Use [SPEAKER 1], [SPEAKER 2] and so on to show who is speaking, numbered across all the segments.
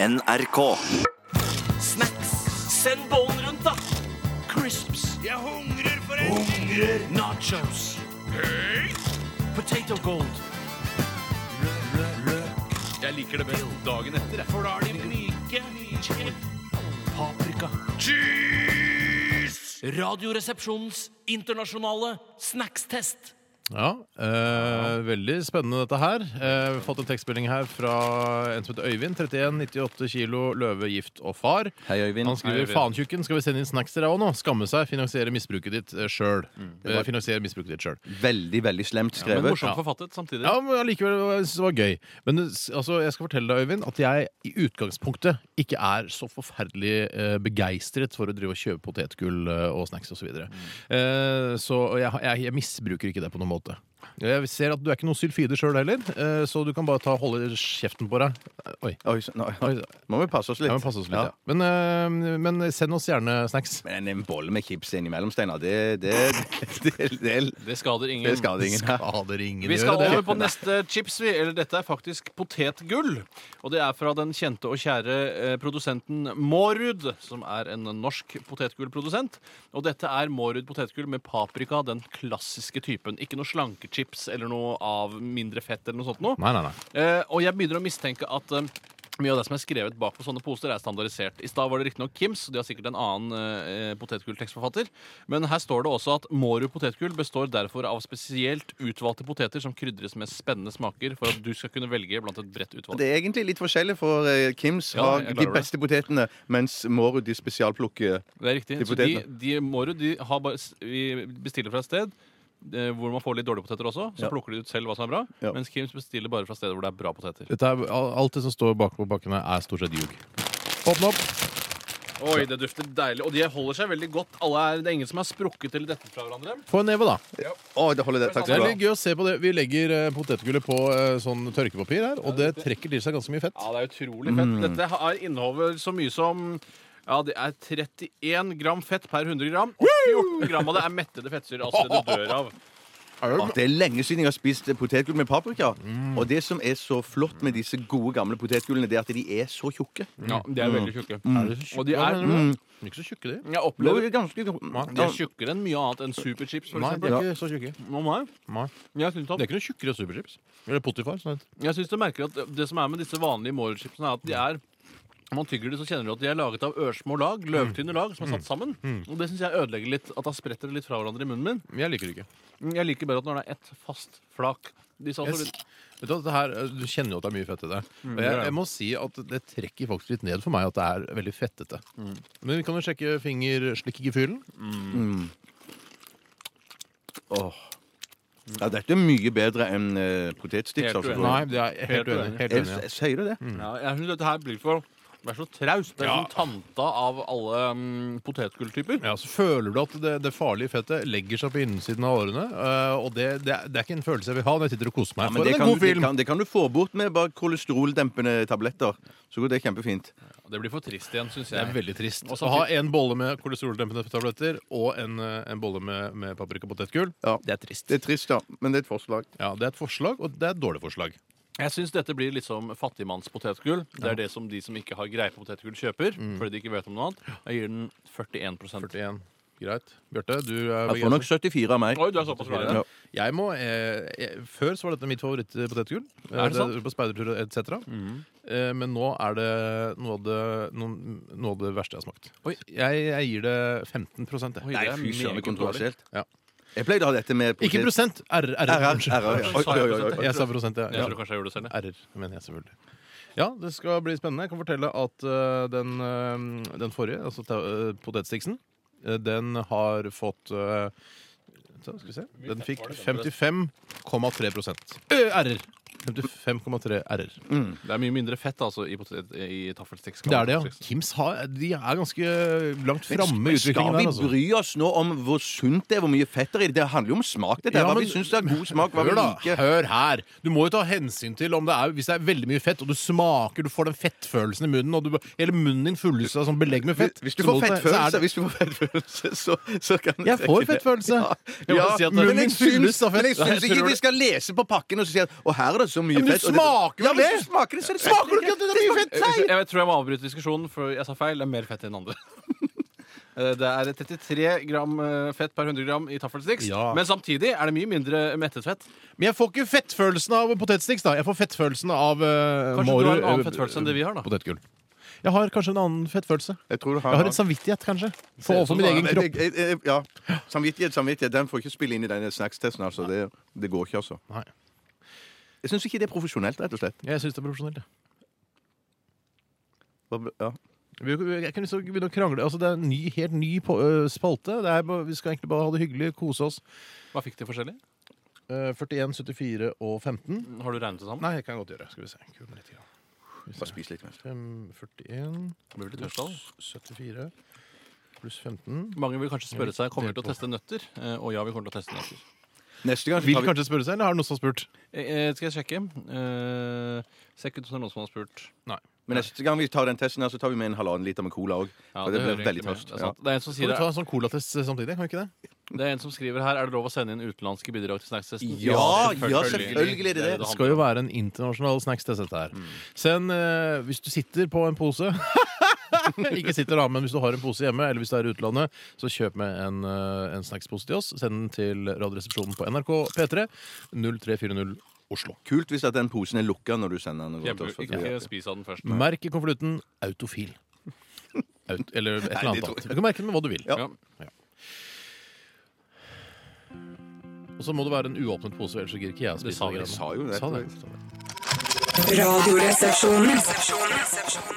[SPEAKER 1] NRK.
[SPEAKER 2] Snacks. Send bollen rundt, da. Crisps. Jeg hungrer for en Nachos. Potato gold.
[SPEAKER 3] Jeg liker det best dagen etter. For da er de myke.
[SPEAKER 2] Paprika. Cheese! Radioresepsjonens internasjonale snackstest.
[SPEAKER 4] Ja, eh, veldig spennende dette her. Eh, vi har fått en tekstmelding her fra en som heter Øyvind. 31, 98 kilo, løve, gift og far.
[SPEAKER 1] Hei, Øyvind.
[SPEAKER 4] Han skriver faen tjukken, skal vi sende inn snacks til deg òg nå? Skamme seg, finansiere misbruket ditt eh, sjøl.
[SPEAKER 1] Mm.
[SPEAKER 4] Eh, finansiere misbruket ditt sjøl.
[SPEAKER 1] Veldig, veldig slemt
[SPEAKER 3] Men
[SPEAKER 1] skrevet.
[SPEAKER 3] morsomt forfattet samtidig.
[SPEAKER 4] Ja, men allikevel jeg synes det var gøy. Men eh, s- altså, jeg skal fortelle deg, Øyvind, at jeg i utgangspunktet ikke er så forferdelig eh, begeistret for å drive og kjøpe potetgull eh, og snacks osv. Så, videre. eh, så og jeg, har- jeg, jeg misbruker ikke det på noen måte. Jeg ser at du er ikke noen sylfide sjøl heller, eh, så du kan bare ta, holde kjeften på deg. Eh, Oi.
[SPEAKER 1] Oi, så, nå
[SPEAKER 4] Oi.
[SPEAKER 1] må vi passe oss litt.
[SPEAKER 4] Ja, men pass oss litt.
[SPEAKER 1] Ja.
[SPEAKER 4] Ja. Men, eh, men send oss gjerne snacks.
[SPEAKER 1] Men en bolle med chips innimellom, Steinar, det, det, det, det,
[SPEAKER 3] Det skader ingen.
[SPEAKER 1] det skader ingen.
[SPEAKER 4] Skader ingen
[SPEAKER 3] Vi
[SPEAKER 4] å
[SPEAKER 3] skal
[SPEAKER 4] gjøre det.
[SPEAKER 3] over på neste chips. vi, eller Dette er faktisk potetgull. Og det er fra den kjente og kjære eh, produsenten Mårud, som er en norsk potetgullprodusent. Og dette er Mårud potetgull med paprika, den klassiske typen. Ikke noe slankechips eller noe av mindre fett eller noe sånt noe.
[SPEAKER 4] Nei, nei, nei.
[SPEAKER 3] Eh, og jeg begynner å mistenke at eh, mye av det som er skrevet bak på sånne poser, er standardisert. I stad var det riktignok Kims, og de har sikkert en annen eh, potetgulltekstforfatter. Men her står det også at Mårud potetgull består derfor av spesielt utvalgte poteter som krydres med spennende smaker for at du skal kunne velge blant et bredt utvalg.
[SPEAKER 1] Det er egentlig litt forskjellig, for eh, Kims
[SPEAKER 3] Ja,
[SPEAKER 1] har
[SPEAKER 3] jeg
[SPEAKER 1] de
[SPEAKER 3] klarer det.
[SPEAKER 1] beste potetene, mens Mårud de spesialplukker
[SPEAKER 3] Det er riktig.
[SPEAKER 1] De
[SPEAKER 3] Så de,
[SPEAKER 1] potetene.
[SPEAKER 3] de Mårud de har bare, s- vi bestiller fra et sted. eh, Hvor man får litt dårlige poteter også. Så
[SPEAKER 1] Ja.
[SPEAKER 3] plukker de ut selv hva som er bra.
[SPEAKER 1] Ja.
[SPEAKER 3] Mens Kims bestiller bare fra steder hvor det er bra poteter.
[SPEAKER 4] Dette er, alt det som står bak på pakkene, er stort sett ljug. Åpne opp.
[SPEAKER 3] Oi, det dufter deilig. Og de holder seg veldig godt. Alle er, det er ingen som har sprukket eller dettet fra hverandre.
[SPEAKER 4] Få en neve, da.
[SPEAKER 1] Å, det holder det. Takk
[SPEAKER 4] Det er litt
[SPEAKER 1] skal du ha.
[SPEAKER 4] gøy å se på det. Vi legger eh, potetgullet på eh, sånn tørkepapir her, og det trekker til seg ganske mye fett.
[SPEAKER 3] Ja, det er utrolig fett.
[SPEAKER 1] Mm.
[SPEAKER 3] Dette har inneholder så mye som ja, Det er 31 gram fett per 100 gram. Og 14 gram av det er mettede fettsyrer. Altså det du dør av.
[SPEAKER 1] Å, Ah, det er lenge siden jeg har spist potetgull med paprika. Og det som er så flott med disse gode, gamle potetgullene, det er at de er så tjukke.
[SPEAKER 3] Ja, De
[SPEAKER 1] Mm.
[SPEAKER 3] er veldig tjukke.
[SPEAKER 4] Er de så tjukke?
[SPEAKER 3] Og de
[SPEAKER 4] Hva
[SPEAKER 3] er-
[SPEAKER 4] mener du? De er Ikke så tjukke, de.
[SPEAKER 3] Jeg
[SPEAKER 1] Jo, de
[SPEAKER 3] opplever
[SPEAKER 1] er ganske
[SPEAKER 3] de er
[SPEAKER 1] ja.
[SPEAKER 3] tjukkere enn mye annet enn superchips. For
[SPEAKER 4] Nei, de
[SPEAKER 3] eksempel.
[SPEAKER 4] er ikke så tjukke.
[SPEAKER 3] Nå må jeg-
[SPEAKER 4] Nei.
[SPEAKER 3] jeg
[SPEAKER 4] Det
[SPEAKER 3] syns
[SPEAKER 4] er
[SPEAKER 3] at-
[SPEAKER 4] ikke noe tjukkere superchips. Eller Potifar. Sånn. at-
[SPEAKER 3] jeg syns du merker at det som er med disse vanlige Morel-chipsene, er at de er når man tygger det, så kjenner du at de er laget av ørsmå lag, løvtynne lag, som er
[SPEAKER 4] Mm.
[SPEAKER 3] satt sammen. Og det syns jeg ødelegger litt. At da spretter det litt fra hverandre i munnen min.
[SPEAKER 4] Men Jeg liker det ikke.
[SPEAKER 3] Jeg liker bare at når det er ett fast flak de sa også
[SPEAKER 4] Jeg,
[SPEAKER 3] litt-
[SPEAKER 4] vet du, hva, det her, eh, du kjenner jo at det er mye fett i Mm, det. Og jeg,
[SPEAKER 3] ja.
[SPEAKER 4] jeg må si at det trekker faktisk litt ned for meg at det er veldig fettete. Men vi kan jo sjekke fingerslikkegefylen.
[SPEAKER 1] Åh. ja, dette er mye bedre enn uh, potetsticks.
[SPEAKER 3] Helt
[SPEAKER 1] Altså.
[SPEAKER 3] uenig.
[SPEAKER 4] Nei, det er jeg helt
[SPEAKER 3] Helt
[SPEAKER 4] uenig.
[SPEAKER 3] uenig.
[SPEAKER 4] Helt
[SPEAKER 1] Jeg,
[SPEAKER 4] uenig ja.
[SPEAKER 1] jeg sier det.
[SPEAKER 3] Ja, jeg syns dette her blir for Det er så traust. Det er
[SPEAKER 4] Ja.
[SPEAKER 3] som tanta av alle mm, potetgulltyper.
[SPEAKER 4] Ja, så Føler du at det, det farlige fettet legger seg på innsiden av årene? eh, og det, det, er- det er ikke en følelse jeg vil ha når jeg sitter og koser meg.
[SPEAKER 1] Ja, men
[SPEAKER 4] For
[SPEAKER 1] det,
[SPEAKER 4] en
[SPEAKER 1] kan,
[SPEAKER 4] god
[SPEAKER 1] det,
[SPEAKER 4] film!
[SPEAKER 1] kan, det kan du få bort med bare kolesteroldempende tabletter. Så går det kjempefint.
[SPEAKER 3] Det blir for trist igjen, syns
[SPEAKER 4] Det er
[SPEAKER 3] jeg.
[SPEAKER 4] veldig trist.
[SPEAKER 3] Og
[SPEAKER 4] Å ha
[SPEAKER 3] samtidig-
[SPEAKER 4] en bolle med kolesteroldempende tabletter og en, eh, en bolle med, med paprika og potetgull,
[SPEAKER 1] Ja.
[SPEAKER 4] det er trist.
[SPEAKER 1] Det er trist, da, men det er et forslag.
[SPEAKER 4] Ja, det er et forslag, og det er et dårlig forslag.
[SPEAKER 3] Jeg syns dette blir litt som fattigmannspotetgull. Det er det som de som ikke har greie på potetgull, kjøper.
[SPEAKER 4] Mm.
[SPEAKER 3] Fordi de ikke vet om noe annet. Jeg gir den 41
[SPEAKER 4] 41. Greit. Bjarte, du er
[SPEAKER 1] Jeg får nok
[SPEAKER 4] begeistret.
[SPEAKER 1] 74 av meg.
[SPEAKER 3] Oi, du er såpass glad i det?
[SPEAKER 1] Ja.
[SPEAKER 4] Jeg må, eh, jeg, før så var dette mitt favorittpotetgull.
[SPEAKER 3] Er det sant? Mhm.
[SPEAKER 4] På speidertur etc. Eh, men nå er det noe av det, noe, noe av det verste jeg har smakt.
[SPEAKER 3] Oi.
[SPEAKER 4] Jeg, jeg gir det 15 jeg.
[SPEAKER 3] Oi,
[SPEAKER 1] Nei,
[SPEAKER 3] det er
[SPEAKER 1] fy søren,
[SPEAKER 3] meget
[SPEAKER 1] kontroversielt.
[SPEAKER 4] Ja.
[SPEAKER 1] Jeg pleide å ha dette med
[SPEAKER 4] Ikke
[SPEAKER 1] potet-
[SPEAKER 4] prosent! RR.
[SPEAKER 1] RR.
[SPEAKER 4] Unnskyld.
[SPEAKER 1] RR, ja. Oi, oi, oi, oi, oi.
[SPEAKER 4] Jeg sa prosent, ja.
[SPEAKER 3] Jeg
[SPEAKER 4] ja.
[SPEAKER 3] tror kanskje jeg gjorde det selv. jeg.
[SPEAKER 4] R-er, mener jeg selvfølgelig. Ja, det skal bli spennende. Jeg kan fortelle at eh, den, eh, den forrige, altså uh, potetsticksen, eh, den har fått eh, så, Skal vi se Den fikk 55,3 Ø, R-er! 55,3 R-er.
[SPEAKER 1] Mm.
[SPEAKER 3] Det er mye mindre fett altså, i, potet- i taffelsticks.
[SPEAKER 4] Det er det, ja. Kims har, de er ganske langt framme i
[SPEAKER 1] Skal
[SPEAKER 4] utviklingen
[SPEAKER 1] vi
[SPEAKER 4] der, altså.
[SPEAKER 1] bry oss nå om hvor sunt det er, hvor mye fett det er? i det? Det handler jo om smak. dette her.
[SPEAKER 4] Ja,
[SPEAKER 1] Hva
[SPEAKER 4] men-
[SPEAKER 1] vi syns er god smak, hva vi
[SPEAKER 4] Hør, da.
[SPEAKER 1] liker.
[SPEAKER 4] Hør her! Du må jo ta hensyn til om det er, hvis det er veldig mye fett, og du smaker, du får den fettfølelsen i munnen, og du, hele munnen din fylles av sånn belegg med fett
[SPEAKER 1] Hvis du
[SPEAKER 4] så
[SPEAKER 1] får
[SPEAKER 4] må ta- så er
[SPEAKER 1] fettfølelse,
[SPEAKER 4] det-
[SPEAKER 1] hvis du får fettfølelse så, så kan du
[SPEAKER 4] Jeg
[SPEAKER 1] trekke
[SPEAKER 4] får
[SPEAKER 1] det.
[SPEAKER 4] fettfølelse.
[SPEAKER 1] Ja,
[SPEAKER 4] Jeg må
[SPEAKER 1] ja
[SPEAKER 4] si at det-
[SPEAKER 1] men
[SPEAKER 4] Munnen
[SPEAKER 1] jeg syns,
[SPEAKER 4] fylles av fett.
[SPEAKER 1] men jeg
[SPEAKER 4] Nei,
[SPEAKER 1] syns
[SPEAKER 4] jeg
[SPEAKER 1] ikke
[SPEAKER 4] tror
[SPEAKER 1] vi
[SPEAKER 4] det-
[SPEAKER 1] skal lese på pakken og så si at Og her er det så mye
[SPEAKER 4] Ja, men du
[SPEAKER 1] fett. og
[SPEAKER 4] smaker
[SPEAKER 1] ja,
[SPEAKER 4] vel
[SPEAKER 1] vel,
[SPEAKER 4] ikke?
[SPEAKER 1] hvis du smaker det, så er det
[SPEAKER 4] Smaker du ikke at det er mye fett?
[SPEAKER 3] Eh, Jeg, jeg tror jeg må avbryte diskusjonen, for jeg sa feil. Det er mer fett enn andre. Eh, Det er 33 gram eh, fett per 100 gram i taffelsticks.
[SPEAKER 4] Ja.
[SPEAKER 3] Men samtidig er det mye mindre mettet fett.
[SPEAKER 4] Men jeg får ikke fettfølelsen av potetsticks, da. Jeg får fettfølelsen av uh,
[SPEAKER 3] Kanskje du har en annen fettfølelse enn det vi har, da.
[SPEAKER 4] Potetgull. Jeg har kanskje en annen fettfølelse.
[SPEAKER 1] Jeg tror du har
[SPEAKER 4] Jeg har en samvittighet, kanskje.
[SPEAKER 3] Ser
[SPEAKER 4] For
[SPEAKER 3] ut
[SPEAKER 4] overfor
[SPEAKER 3] som
[SPEAKER 4] min
[SPEAKER 3] du har
[SPEAKER 4] egen
[SPEAKER 1] Jeg-
[SPEAKER 4] kropp.
[SPEAKER 1] jeg- jeg- jeg- Ja. Samvittighet, samvittighet. Den får ikke spille inn i denne snackstesten. Altså. Det, det går ikke, altså.
[SPEAKER 4] Nei.
[SPEAKER 1] Jeg syns ikke det er profesjonelt, rett og slett.
[SPEAKER 4] Jeg syns det er profesjonelt. jeg.
[SPEAKER 1] Hva- Ja.
[SPEAKER 4] Vi, vi- jeg kan liksom begynne å krangle. Altså, det er en ny, helt ny på, øh, spalte. Det er, bare- vi skal egentlig bare ha det hyggelig, kose oss.
[SPEAKER 3] Hva fikk de forskjellig?
[SPEAKER 4] Eh, 41, 74 og 15.
[SPEAKER 3] Har du regnet det sammen?
[SPEAKER 4] Nei, jeg kan godt gjøre. Skal vi se. Kul med litt grann.
[SPEAKER 1] Bare spis litt. mens.
[SPEAKER 4] Fem- 41
[SPEAKER 3] Blir du litt tørst av det?
[SPEAKER 4] 74 pluss 15.
[SPEAKER 3] Mange vil kanskje spørre seg kommer vi til å teste nøtter. Eh, Og ja, vi kommer til å teste nøtter.
[SPEAKER 1] Neste gang så
[SPEAKER 4] Vil
[SPEAKER 1] tar vi
[SPEAKER 4] kanskje spørre seg, eller har det noen som har spurt?
[SPEAKER 3] Eh, eh, Skal jeg sjekke? Eh, Ser ikke ut som det er noen som har spurt.
[SPEAKER 4] Nei.
[SPEAKER 1] Men neste gang vi tar den testen, her, så tar vi med en halvannen liter med cola òg.
[SPEAKER 3] Ja,
[SPEAKER 1] det
[SPEAKER 3] hører
[SPEAKER 1] blir veldig
[SPEAKER 3] egentlig med.
[SPEAKER 1] tørst.
[SPEAKER 3] Det er,
[SPEAKER 1] Ja.
[SPEAKER 3] sant. det, er en som
[SPEAKER 4] Skal
[SPEAKER 3] sier
[SPEAKER 4] vi ta
[SPEAKER 3] det,
[SPEAKER 4] en sånn colatest samtidig? Kan vi ikke det?
[SPEAKER 3] det er en som skriver her Er det lov å sende inn utenlandske bidrag til snackstesten?
[SPEAKER 1] Ja, ja, selvfølgelig er det det.
[SPEAKER 4] Det skal jo være en internasjonal snacks, det dette her. Send eh, Hvis du sitter på en pose Ikke sitter da, men hvis du har en pose hjemme, eller hvis du er i utlandet, så kjøp med en, eh, en snackspose til oss. Send den til Radioresepsjonen på NRK P3 0340 Oslo.
[SPEAKER 1] Kult hvis at den posen er lukka når du sender den. og går til oss, for at vi-
[SPEAKER 3] Ikke spis av den først.
[SPEAKER 4] Merk i konvolutten 'autofil'. Aut, eller et eller annet.
[SPEAKER 1] tror
[SPEAKER 4] annet. Du kan merke den med hva du vil.
[SPEAKER 3] Ja.
[SPEAKER 4] Og så må det være en uåpnet pose, ellers så gidder ikke jeg å
[SPEAKER 3] Det
[SPEAKER 4] spise
[SPEAKER 3] sa
[SPEAKER 4] de
[SPEAKER 3] vi,
[SPEAKER 4] greiene.
[SPEAKER 1] sa jo det.
[SPEAKER 4] Sa det.
[SPEAKER 5] Radioresepsjonen.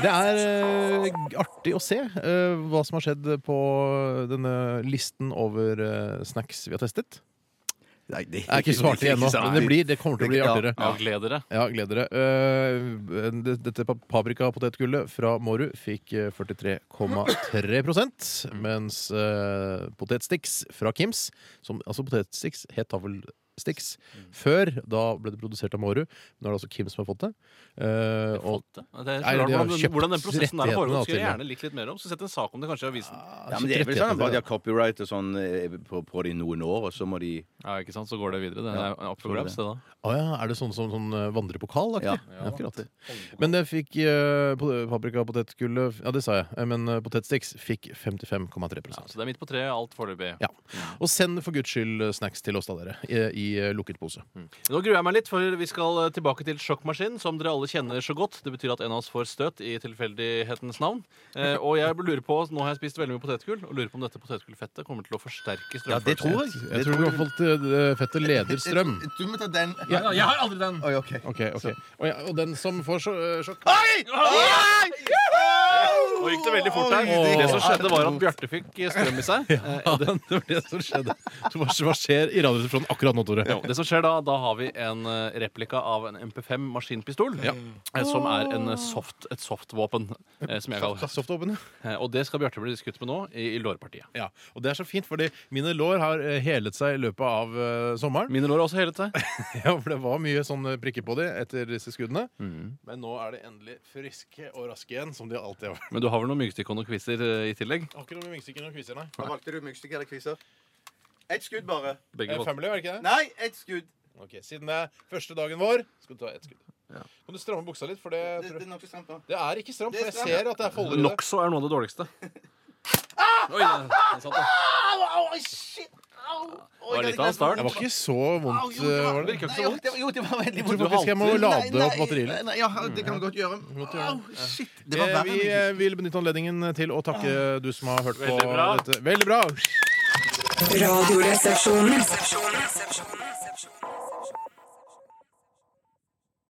[SPEAKER 4] Det er eh, artig å se eh, hva som har skjedd på denne listen over eh, snacks vi har testet.
[SPEAKER 1] Nei, det
[SPEAKER 4] Jeg er ikke så artig ennå,
[SPEAKER 1] sant.
[SPEAKER 4] men det, blir, det kommer til å bli
[SPEAKER 1] Ja.
[SPEAKER 4] artigere.
[SPEAKER 3] Ja, gled dere.
[SPEAKER 4] Ja, gled dere. Eh, det- Dette pa- paprikapotetgullet fra Mårud fikk eh, 43,3 mens eh, potetsticks fra Kims, som, altså potetsticks het taffelsticks før, da ble det produsert av Mårud. Nå er det altså Kim som har fått det. Eh, og
[SPEAKER 3] Det er
[SPEAKER 4] Nei, de
[SPEAKER 3] så rart
[SPEAKER 4] har
[SPEAKER 3] hvordan,
[SPEAKER 4] kjøpt
[SPEAKER 3] hvordan den prosessen
[SPEAKER 4] rettighetene, da,
[SPEAKER 3] der foregår. Skulle jeg
[SPEAKER 4] til og
[SPEAKER 3] gjerne likt litt mer om. Så sett en sak om det kanskje i avisen.
[SPEAKER 1] Ja, men det er vel sånn at bare de har copyright og sånn eh, på, på det i noen år, og så må de
[SPEAKER 3] Ja, ikke sant? Så går det videre. Det er up for
[SPEAKER 1] det.
[SPEAKER 3] grabs, det da.
[SPEAKER 4] Å ja, er det sånn som sånn, eh, vandrepokal? Ja.
[SPEAKER 1] Ja.
[SPEAKER 4] Ja, akkurat. Men det fikk uh, paprikapotetgullet Ja, det sa jeg. eh, Men eh, potetsticks fikk 55,3
[SPEAKER 3] Ja, så det er midt på treet, alt foreløpig.
[SPEAKER 4] ja. Og send for guds skyld eh, snacks til oss da, dere. I, i eh, lukket pose.
[SPEAKER 3] Nå gruer jeg meg litt, for vi skal eh, tilbake til sjokkmaskin, som dere alle kjenner så godt. Det betyr at en av oss får støt i tilfeldighetens navn. Eh, og jeg lurer på, nå har jeg spist veldig mye potetgull, og lurer på om dette potetgullfettet kommer til å forsterke strømførselen.
[SPEAKER 4] Jeg tror i hvert fall at, eh, fettet leder strøm.
[SPEAKER 1] Du må ta den.
[SPEAKER 3] jeg har aldri den!
[SPEAKER 1] Oi, ok.
[SPEAKER 4] Ok, ok. Og, ja, og den som får så, eh, sjokk
[SPEAKER 3] Nå gikk det veldig fort der.
[SPEAKER 1] Oi,
[SPEAKER 3] Det som skjedde, var at Bjarte fikk eh, strøm i seg. Eh,
[SPEAKER 4] Ja, det var det som skjedde. Så Hva hva skjer i Radioresepsjonen akkurat nå, Tore?
[SPEAKER 3] Jo, det som skjer Da da har vi en eh, replika av en MP5 maskinpistol, eh, som er en eh, soft, et softvåpen. eh, Som jeg kaller det.
[SPEAKER 4] Softopen, ja.
[SPEAKER 3] Eh, Og det skal Bjarte bli skutt med nå, i, i lårpartiet.
[SPEAKER 4] Ja, og det er så fint, fordi mine lår har eh, helet seg i løpet av eh, sommeren.
[SPEAKER 3] Mine lår har også helet seg.
[SPEAKER 4] Ja, for det var mye sånn eh, prikker på de etter disse skuddene.
[SPEAKER 3] Mm.
[SPEAKER 4] Men nå er de endelig friske og raske igjen, som de alltid har vært.
[SPEAKER 3] Men du har vel noen myggstykker og noen quizer eh, i tillegg?
[SPEAKER 4] Har ikke noe med vingstikker og kviser, nei.
[SPEAKER 1] Valgte du myggstykke eller kviser? Ett skudd bare.
[SPEAKER 3] Begge
[SPEAKER 4] Eh,
[SPEAKER 3] folk.
[SPEAKER 4] Family, var det ikke det?
[SPEAKER 1] Nei, ett skudd.
[SPEAKER 4] Ok, Siden det er første dagen vår, skal du ta ett skudd. Kan du stramme buksa litt, for det tror jeg-
[SPEAKER 1] nok stramt nå.
[SPEAKER 4] Det er ikke stramt,
[SPEAKER 1] Det
[SPEAKER 4] for
[SPEAKER 1] er
[SPEAKER 4] jeg
[SPEAKER 1] stramt.
[SPEAKER 4] ser at det er folder i det.
[SPEAKER 3] Nokså er noe av det dårligste.
[SPEAKER 4] Ah!
[SPEAKER 3] Oi, det, det satt, det. det var litt av en
[SPEAKER 4] Det
[SPEAKER 3] start.
[SPEAKER 4] var ikke så vondt, eh, var det?
[SPEAKER 3] Virka ikke så vondt.
[SPEAKER 1] Jo, det var veldig
[SPEAKER 4] Jeg tror faktisk jeg må lade opp batteriet litt.
[SPEAKER 1] Nei, ja, det kan vi godt gjøre. Au, shit. Det var
[SPEAKER 4] Eh,
[SPEAKER 1] verre.
[SPEAKER 4] Vi eh, vil benytte anledningen til å takke du som har hørt på
[SPEAKER 3] Veldig bra.
[SPEAKER 4] dette. Veldig bra!
[SPEAKER 5] Radioresepsjonen.